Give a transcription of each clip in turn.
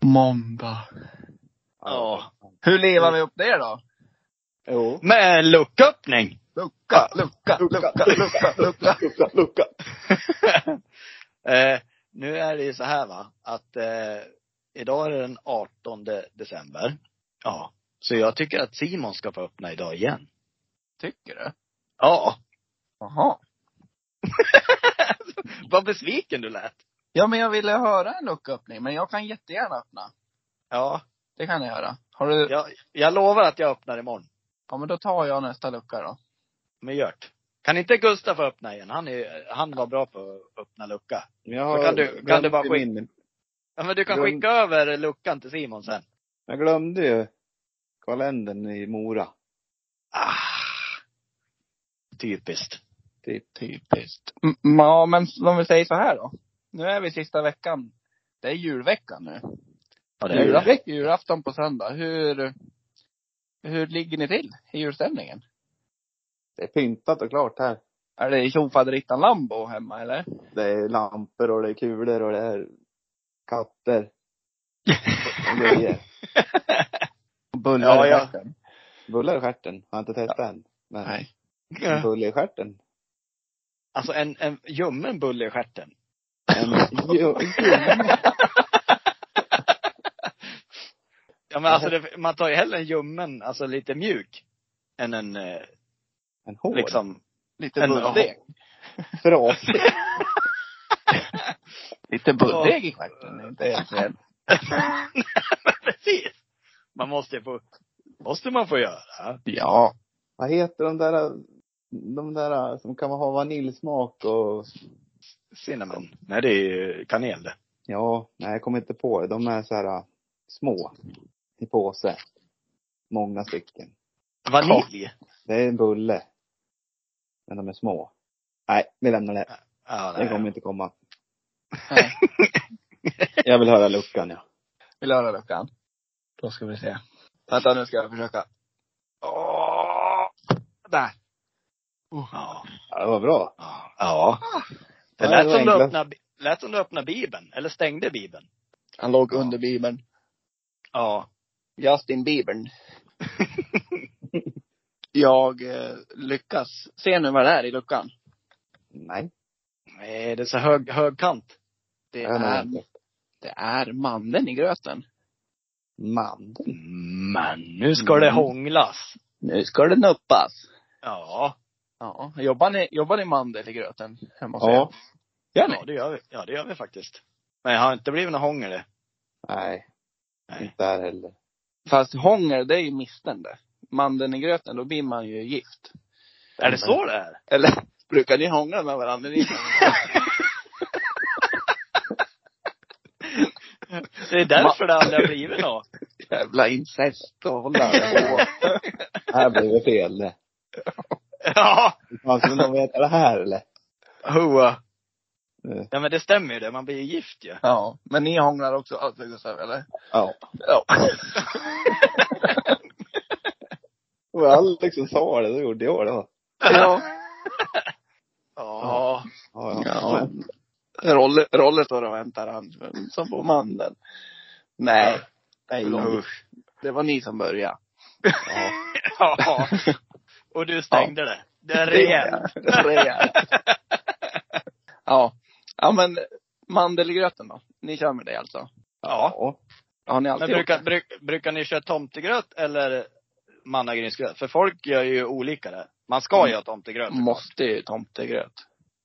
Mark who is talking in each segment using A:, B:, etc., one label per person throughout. A: måndag.
B: Ja.
A: Hur lever vi upp det då?
C: Jo.
B: Med lucköppning.
A: Lucka, lucka, lucka, lucka, lucka.
C: Lucka, lucka.
B: eh, nu är det ju så här va, att eh, idag är det den 18 december. Ja. Så jag tycker att Simon ska få öppna idag igen.
A: Tycker du?
B: Ja.
A: Jaha.
B: Vad besviken du lät.
A: Ja, men jag ville höra en lucköppning, men jag kan jättegärna öppna.
B: Ja.
A: Det kan jag göra. Har du, ja,
B: Jag, jag lovar att jag öppnar imorgon.
A: men då tar jag nästa lucka då.
B: Med Gert. Kan inte Gustav få öppna igen? Han, är, han var bra på att öppna lucka.
C: Jag har
B: Då kan du- kan du bara
C: glömt i min-
B: Ja, men du kan
C: Lugn.
B: skicka över luckan till Simon sen.
C: Jag glömde ju kalendern i Mora.
B: Ah, typiskt.
C: Typ.
A: Typiskt. M- Ja, men om vi säger så här då. Nu är vi sista veckan. Det är julveckan nu.
B: Ja,
C: är det.
A: Julafton, julafton på söndag. Hur, hur ligger ni till i julstämningen?
C: Det är pyntat och klart här.
A: Är det tjofaderittan Lambo hemma eller?
C: Det är lampor och det är kulor och det är katter. Och grejer.
A: Och Bullar
B: Ja,
A: i
B: ja.
A: backen?
C: Bullar i stjärten. Har jag inte testat än. Nej.
A: Nej.
C: En bulle i stjärten.
B: Alltså en, en ljummen bulle i stjärten.
C: En jo-
B: Ja men alltså det, man tar ju hellre en ljummen, alltså lite mjuk. Än en eh,
C: en hår.
B: liksom,
A: Lite
B: En-
A: bulldeg.
C: Frasig.
A: Lite bulldeg i stjärten. Det är Inte helt fel.
B: precis. Man måste ju få, måste man få göra.
A: Ja.
C: Vad heter de där, de där som kan ha vaniljsmak och
B: Cinnamon. Nej det är ju kanel det.
C: Ja, nej jag kommer inte på det. De är så här äh, små i påse. Många stycken.
B: Vanilj.
C: Det är en bulle. Men de är små. Nej, vi lämnar det.
B: Ja,
C: Det kommer
B: nej.
C: inte komma.
A: Nej.
C: Jag vill höra luckan ja.
A: Vill du höra luckan? Då ska vi se. Vänta nu ska jag försöka. Åh! Där.
B: Ja.
C: ja det var bra.
B: ja. Det
C: Ja, det
B: lät
C: var
B: som, du
C: enklast.
B: öppnade, lät som du öppnade bibeln, eller stängde bibeln.
A: Han låg
C: Ja.
A: under bibeln.
B: Ja.
A: Justin Biebern. jag eh, lyckas. Se nu vad det är i luckan.
C: Nej.
B: Nej, det är så hög, högkant.
A: Det
C: jag har nog
A: är,
C: inte.
A: det är mandeln i gröten.
C: Mandel.
B: Men nu ska det
A: Mm.
B: hånglas.
A: Nu ska det nuppas.
B: Ja.
A: Ja. Jobbar ni, jobbar ni mandel i gröten hemma hos
C: Ja.
A: er? Gör ni?
B: Ja det gör vi. Ja det gör vi faktiskt. Men jag har inte blivit någon hångel det.
C: Nej.
B: Nej.
C: Inte där heller.
A: Fast hångel, det är ju missnande. Mandeln i gröten, då blir man ju gift.
B: Är det så det är?
A: Eller brukar ni hångla med varandra? Ni-
B: Det är därför det aldrig har blivit något.
A: Jävla incest och hålla på.
C: Här blev det fel det.
B: Ja.
C: Fan skulle någon veta det här eller?
B: Hoa.
C: Eh,
B: Ja men det stämmer ju det. Man blir ju gift ju.
A: Ja. Men ni hånglar också alltså Gustav, eller?
C: Ja.
A: Ja.
C: Det var Alex som sa det, då gjorde jag det. Ja,
A: Ja.
B: Ja.
C: ja.
A: ja. Rolle, Rolle står och väntar han, som på mandeln. Nej. Nej,
B: Usch.
A: det var ni som började.
C: ja.
B: Ja. Och du stängde det. Det är rejält.
A: Rejält. Ja. Ja men, mandel i gröten då? Ni kör med det alltså?
B: Ja.
A: Har ni alltid
B: Men
A: gjort det?
B: brukar, bruk, brukar ni köra tomtegröt eller mannagrynsgröt? För folk gör ju olika där. Man ska
A: Mm.
B: göra tomtegröt.
A: Måste ju tomtegröt.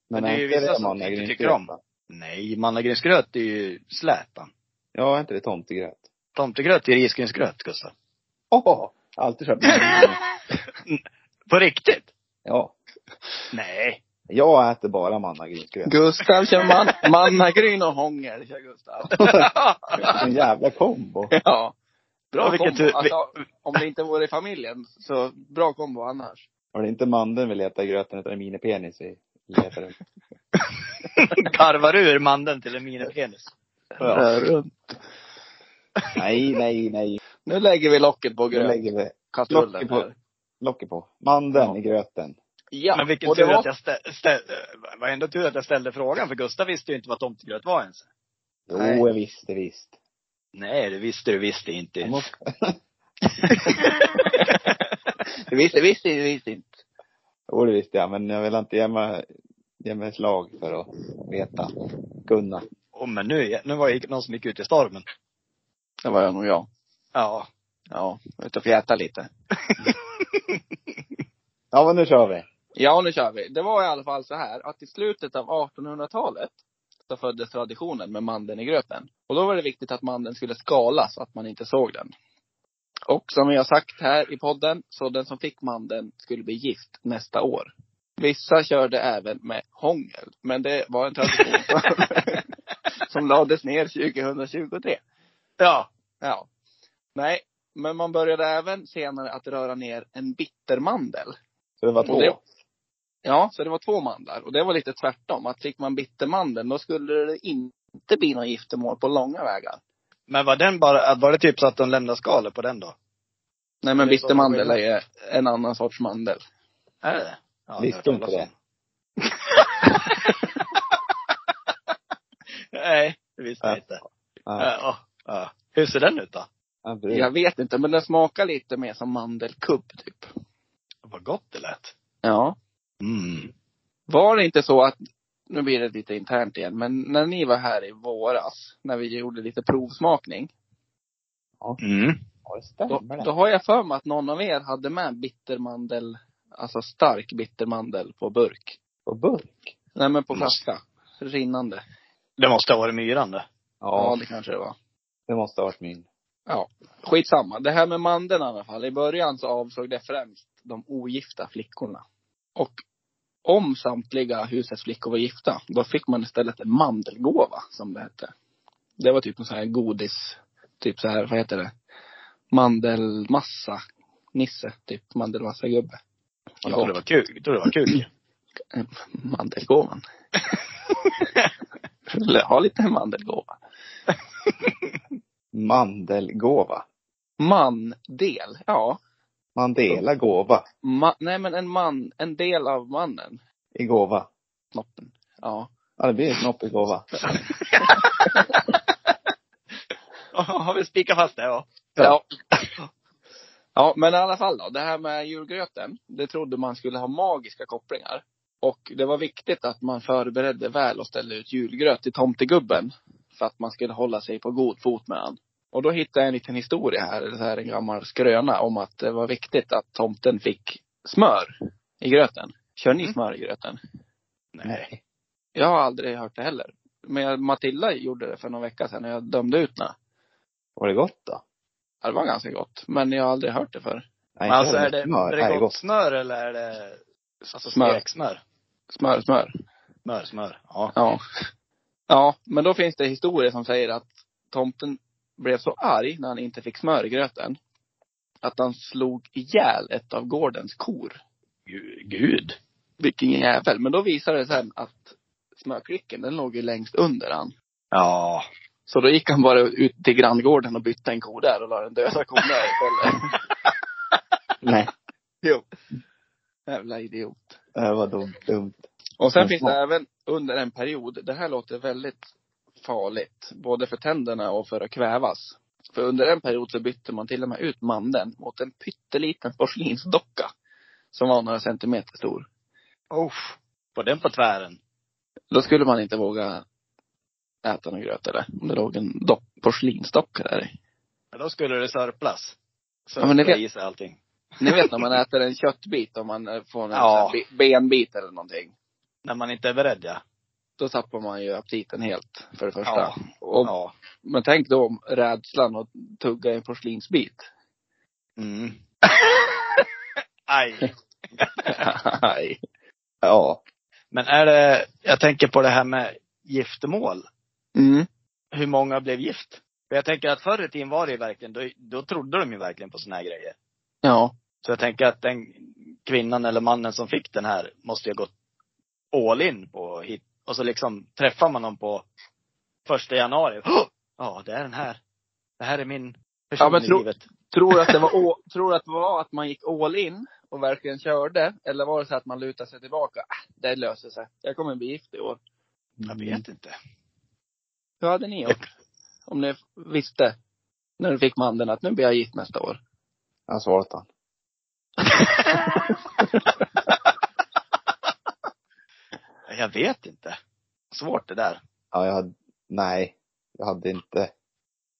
C: Men
B: det är ju
C: inte
B: vissa som
C: man är
B: inte
C: inte
B: tycker om. Nej, mannagrynsgröt är ju slätan.
C: Ja, är inte det tomtegröt?
B: Tomtegröt är risgrynsgröt, Gustav.
C: Åh! Alltid köpt
B: På riktigt?
C: Ja.
B: Nej.
C: Jag äter bara mannagrynsgröt.
A: Gustav kör man, mannagryn och hångel, kör Gustav.
C: En jävla kombo.
A: Ja. Bra
B: Ja, vilken
A: kombo.
B: tur-
A: Alltså, om det inte vore i familjen, så bra kombo annars.
C: Och det är inte mandeln vi letar i gröten utan det är minipenis vi letar upp.
B: Karvar ur mandeln till en minipenis.
C: Ja.
A: runt.
C: Nej, nej, nej.
A: Nu lägger vi locket på
C: Nu lägger vi
A: grönkastrullen
C: locket på.
A: här.
C: locket på. Mandeln
A: Ja.
C: i gröten.
A: Ja,
B: Men vilken
A: och det
B: tur
A: var,
B: att jag ställde, stä, det var ändå tur att jag ställde frågan, för Gustav visste ju inte vad tomtegröt var ens.
C: Jo,
A: Nej.
C: jag visste visst.
B: Nej, det visste du visste inte.
C: Jag måste-
A: Du visste, visste, du visste inte.
C: Jo, det visste jag, men jag vill inte ge mig, ge mig slag för att veta. Kunna.
B: Åh, men nu, nu var det någon som gick ut i stormen.
A: Det var jag nog jag.
B: Ja.
A: Ja, jag var ute och fjäta lite.
C: Ja, men nu kör vi.
A: Ja, nu kör vi. Det var i alla fall så här att i slutet av 1800-talet så föddes traditionen med mandeln i gröten. Och då var det viktigt att mandeln skulle skalas så att man inte såg den. Och som jag har sagt här i podden, så den som fick mandeln skulle bli gift nästa år. Vissa körde även med hångel, men det var en tradition som, som lades ner 2023.
B: Ja.
A: Ja. Nej, men man började även senare att röra ner en bittermandel.
C: Så det var
A: Och
C: två.
A: det- Ja, så det var två mandlar. Och det var lite tvärtom. Att fick man bittermandeln, då skulle det inte bli något giftermål på långa vägar.
B: Men var den bara, var det typ så att de lämnade skalet på den då?
A: Nej, men
B: Det är så
A: bittermandel är
B: skillnad.
A: ju en annan sorts mandel.
B: Är det ja,
C: Visste
B: jag har hört
C: inte
B: talas
C: det.
B: om. Nej, det visste jag
C: Ja.
B: inte.
C: Ja,
B: Ja. Ja. Hur ser den ut då?
C: ja, precis.
A: Jag vet inte, men den smakar lite mer som mandelkubb, typ.
B: Vad gott det lät.
A: Ja.
B: Mm.
A: Var det inte så att, nu blir det lite internt igen, men när ni var här i våras, när vi gjorde lite provsmakning,
B: Mm.
C: Ja, det
A: då,
C: stämmer
A: då
C: det.
A: har jag för mig att någon av er hade med bittermandel, alltså stark bittermandel på burk.
C: På burk.
A: Nej, men på flaska. Rinnande.
B: Det måste ha varit myran det.
A: Ja,
C: Ja,
A: det kanske det var.
C: det måste ha varit min.
A: Skitsamma. Det här med mandeln i alla fall. I början så avsåg det främst de ogifta flickorna. Och om samtliga husets flickor var gifta, då fick man istället en mandelgåva, som det hette. Det var typ en sån här godis, typ så här, vad heter det? Mandelmassa. Nisse, typ mandelmassagubbe.
B: Jag
A: Ja.
B: trodde det var kul. Jag trodde det var kul.
A: Eh, Mandelgåvan. Skulle ha lite mandelgåva.
C: Mandelgåva.
A: Mandel, ja.
C: Mandela gåva.
A: Ma- nej men en man, en del av mannen.
C: I gåva.
A: Snoppen. Ja.
C: Ja, det blir en snoppig gåva.
B: Har vi spikat fast det? Ja.
A: ja. Ja, men i alla fall då. Det här med julgröten, det trodde man skulle ha magiska kopplingar. Och det var viktigt att man förberedde väl och ställde ut julgröt till tomtegubben. För att man skulle hålla sig på god fot med han. Och då hittade jag en liten historia här, eller så här en gammal skröna om att det var viktigt att tomten fick smör i gröten. Kör ni
B: Mm.
A: smör i gröten?
B: Nej.
A: Jag har aldrig hört det heller. Men jag- Matilda gjorde det för någon vecka sedan när jag dömde ut henne.
C: Var det gott då?
A: Ja, Det var ganska gott. Men jag har aldrig hört det förr.
C: Nej,
B: Men alltså
C: inte
B: är det,
C: smör.
B: är
C: Nej,
B: det gott smör eller är det alltså
A: Smör.
B: steksmör?
A: Smör, smör.
B: Smör, smör. Ja.
A: Ja. Ja, men då finns det historier som säger att tomten blev så arg när han inte fick smör i gröten. Att han slog ihjäl ett av gårdens kor.
B: Gu- Gud.
A: Vilken jävel. Men då visade det sen att smörklicken, den låg ju längst under han.
B: Ja.
A: Så då gick han bara ut till granngården och bytte en ko där och la den döda kon där istället.
C: Nej,
A: Jävla idiot.
C: det var dumt. dumt.
A: Och sen
C: Men
A: finns
C: smart.
A: det även under en period, det här låter väldigt farligt, både för tänderna och för att kvävas. För under en period så bytte man till och med ut mandeln mot en pytteliten porslinsdocka. Som var några centimeter stor.
B: Oh. På den på tvären.
A: Då skulle man inte våga äta någon gröt eller? Om det låg en dock- porslinsdocka där i.
B: Ja, Då skulle det sörplas.
A: Ja, men
B: Sörpla
A: ni vet-
B: i sig allting.
A: Ni vet när man äter en köttbit, om man eh, får en
B: Ja.
A: sån här be- benbit eller någonting.
B: När man inte är beredd ja.
A: Då tappar man ju aptiten helt, för det första.
B: Ja.
A: Och,
B: ja.
A: Men tänk då om rädslan att tugga i en porslinsbit.
B: Mm. Aj.
A: Nej.
C: Ja.
B: Men är det, jag tänker på det här med giftermål.
A: Mm.
B: Hur många blev gift? För jag tänker att förr i tiden var det ju verkligen, då, då trodde de ju verkligen på såna här grejer.
A: Ja.
B: Så jag tänker att den kvinnan eller mannen som fick den här måste ju ha gått all in på hit. Och så liksom träffar man dem på första januari. Åh! Ja, det är den här. Det här är min person
A: Ja, men
B: i
A: tro-
B: livet.
A: Tror du att det var, å, tror du att, det var att man gick all in och verkligen körde? Eller var det så att man lutade sig tillbaka? Äh, det löser sig. Jag kommer bli gift i år.
B: Jag vet inte.
A: Hur hade ni gjort? Om ni visste när du fick mandeln att nu blir jag gift nästa år.
C: Jag har svarat han.
B: Jag vet inte. Svårt det där.
C: Ja, jag hade, nej. Jag hade inte.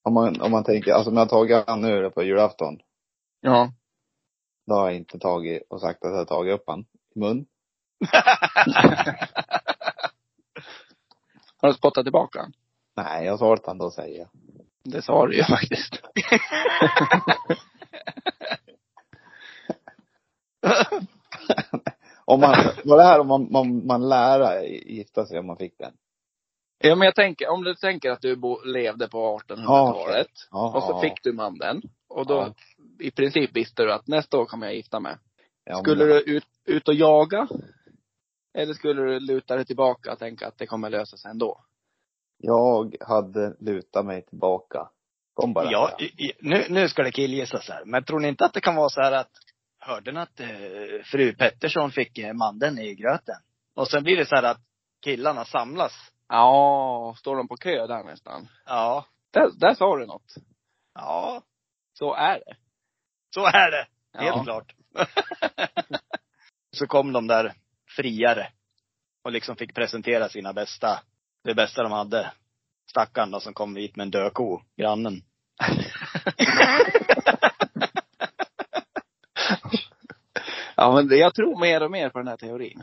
C: Om man, om man tänker, alltså om jag har tagit han nu då på julafton.
A: Ja.
C: Då har jag inte tagit och sagt att jag har tagit upp han i mun.
A: Har du spottat tillbaka?
C: Nej, jag har svarat han då säger jag.
A: Det sa du ju faktiskt.
C: Om man, var det här om man, man, man lära gifta sig om man fick den?
A: Ja men jag tänker, om du tänker att du bo, levde på 1800-talet.
C: Ja.
A: Och så fick du mandeln. Och då
C: Ja.
A: i princip visste du att nästa år kommer jag gifta mig.
C: ja, men
A: skulle
C: det-
A: du ut, ut och jaga? Eller skulle du luta dig tillbaka och tänka att det kommer lösa sig ändå?
C: Jag hade lutat mig tillbaka. Kom bara.
B: Ja, i- i- nu, nu ska det killgissas här. Men tror ni inte att det kan vara så här att, hörde ni att eh, fru Pettersson fick eh, mandeln i gröten? Och sen blir det så här att killarna samlas.
A: Ja, står de på kö där nästan?
B: Ja.
A: Där, där sa du något.
B: Ja,
A: Så är det.
B: så är det. Helt
A: Ja.
B: klart. så kom de där friare. Och liksom fick presentera sina bästa, det bästa de hade. Stackarn då som kom hit med en dödko, grannen.
A: Ja, men det, jag tror mer och mer på den här teorin.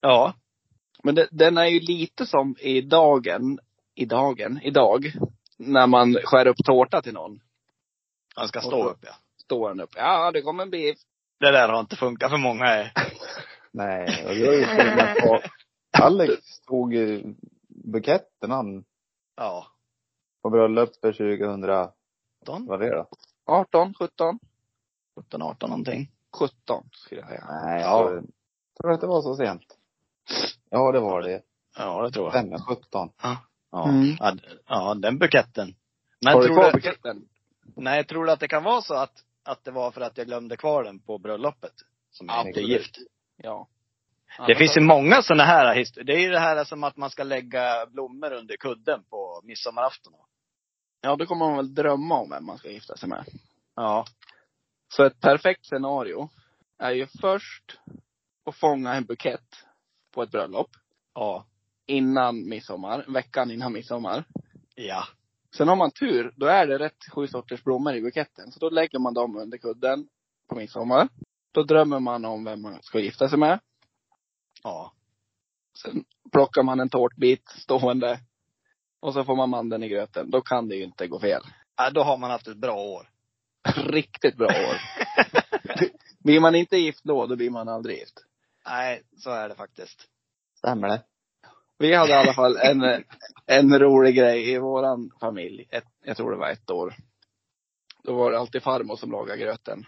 B: Ja.
A: Men det, den är ju lite som i dagen, i dagen, idag. När man skär upp tårta till någon.
B: Han ska
A: Och
B: stå
A: så-
B: upp ja.
A: Står den upp. Ja, det kommer bli
B: Det där har inte funkat för många. eh.
C: Nej, och jag är ju tvungen att ta- Alex tog ju buketten han
B: Ja.
C: på bröllopet 2000, vad
B: 17,
C: var det då?
A: 18, 17,
B: 17, 18 någonting.
A: 17 skulle jag säga.
C: Nej,
B: Ja.
C: jag tror, tror att det var så sent. Ja, det var det.
B: Ja, det tror jag.
C: Stämmer, 17.
B: Ja,
A: Mm.
B: ja, d- ja den buketten. Men
A: Har du
B: tror
A: kvar
B: du,
A: buketten?
B: nej, tror du att det kan vara så att, att det var för att jag glömde kvar den på bröllopet? Som jag inte är
A: Absolut.
B: gift.
A: Ja.
B: Det finns ju många sådana här historier. Det är ju det här som att man ska lägga blommor under kudden på midsommarafton.
A: Ja, då kommer man väl drömma om vem man ska gifta sig med.
B: Ja.
A: Så ett perfekt scenario är ju först att fånga en bukett på ett bröllop
B: Ja.
A: innan midsommar, veckan innan midsommar.
B: Ja.
A: Sen om man tur, då är det rätt sju sorters blommor i buketten. Så då lägger man dem under kudden på midsommar. Då drömmer man om vem man ska gifta sig med.
B: Ja.
A: Sen plockar man en tårtbit stående. Och så får man mandeln i gröten. Då kan det ju inte gå fel.
B: ja då har man haft ett bra år.
A: Riktigt bra år. blir man inte gift då, då blir man aldrig gift.
B: Nej, så är det faktiskt.
C: Stämmer det?
A: Vi hade i alla fall en, eh, en rolig grej i våran familj. Ett, jag tror det var ett år. Då var det alltid farmor som lagade gröten.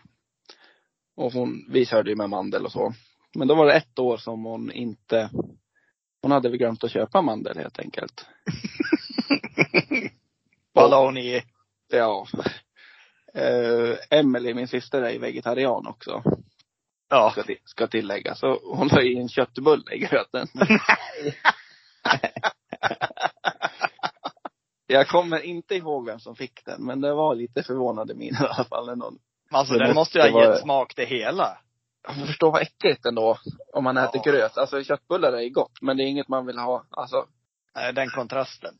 A: Och hon, vi körde ju med mandel och så. Men då var det ett år som hon inte, hon hade väl glömt att köpa mandel helt enkelt.
B: Vad la hon i?
A: Ja. Uh, Emelie, min syster, är ju vegetarian också.
B: Ja.
A: Ska, till, ska tillägga. Så hon la i en köttbulle i gröten. Jag kommer inte ihåg vem som fick den, men det var lite förvånade min i alla fall. när Någon.
B: Alltså
C: Det
B: den måste
C: måste
B: ju ha
C: vara-
B: gett smak det hela.
A: Jag förstår vad äckligt ändå, om man
B: Ja.
A: äter gröt. Alltså köttbullar är ju gott, men det är inget man vill ha. Alltså,
B: Nej, Den kontrasten.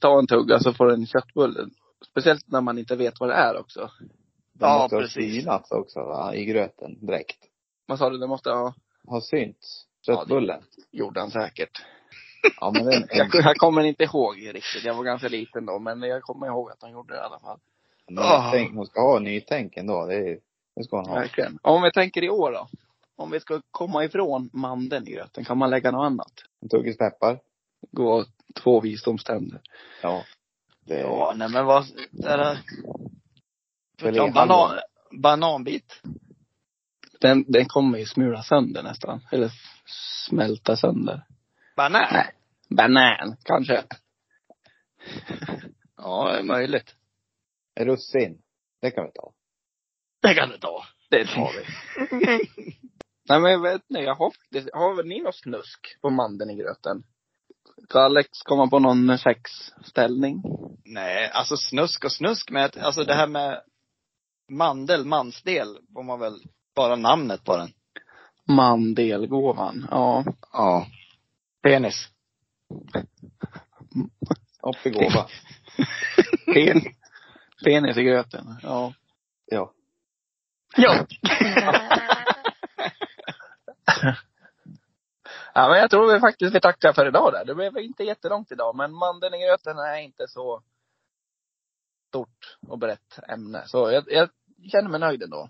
A: ta en tugga så får du en köttbulle. Speciellt när man inte vet vad det är också.
C: Den
B: Ja,
C: måste
B: precis.
C: ha synats också va? i gröten direkt.
A: Man sa det, det måste ha,
C: Har synts.
A: Ja, det-
C: Köttbullen.
A: gjorde han säkert.
C: Ja, men den, den,
A: Jag, jag kommer inte ihåg riktigt, jag var ganska liten då, men jag kommer ihåg att han gjorde det i alla fall.
B: Ah.
C: nytänk, hon ska ha nytänk ändå. Det, är, det ska hon ha.
A: Verkligen. Om vi tänker i år då. Om vi ska komma ifrån mandeln i gröten, kan man lägga något annat?
C: En tugga peppar.
A: Gå två visdomständer.
C: Ja. Det,
B: Ja, nej men vad, är det?
C: Filé.
B: Ja, banan, bananbit.
A: Den, den kommer ju smula sönder nästan. Eller f- smälta sönder.
B: Banan.
A: Banan, kanske. ja, det är möjligt.
C: Russin. Det kan vi ta.
B: Det kan du ta.
A: Det tar vi. Nej men jag vet inte, jag har faktiskt, har väl ni något snusk på mandeln i gröten? Ska Alex komma på någon sexställning?
B: Nej, alltså snusk och snusk med, alltså det här med mandel, mansdel, får man väl bara namnet på den.
A: Mandelgåvan. Ja.
B: Ja. Penis.
C: Upp i gåva.
A: Pen- Penis i gröten. Ja.
C: Ja.
B: Ja.
A: ja men jag tror vi faktiskt vi tackar för idag där. Det blev inte jättelångt idag, men mandeln i gröten är inte så stort och brett ämne. Så jag, jag känner mig nöjd ändå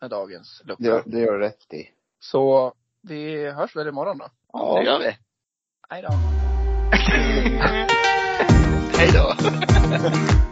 A: med dagens lucka.
C: Det, det gör du rätt i.
A: Så vi hörs väl imorgon då.
B: ja, det gör vi.
A: Hej då.
B: Hej då.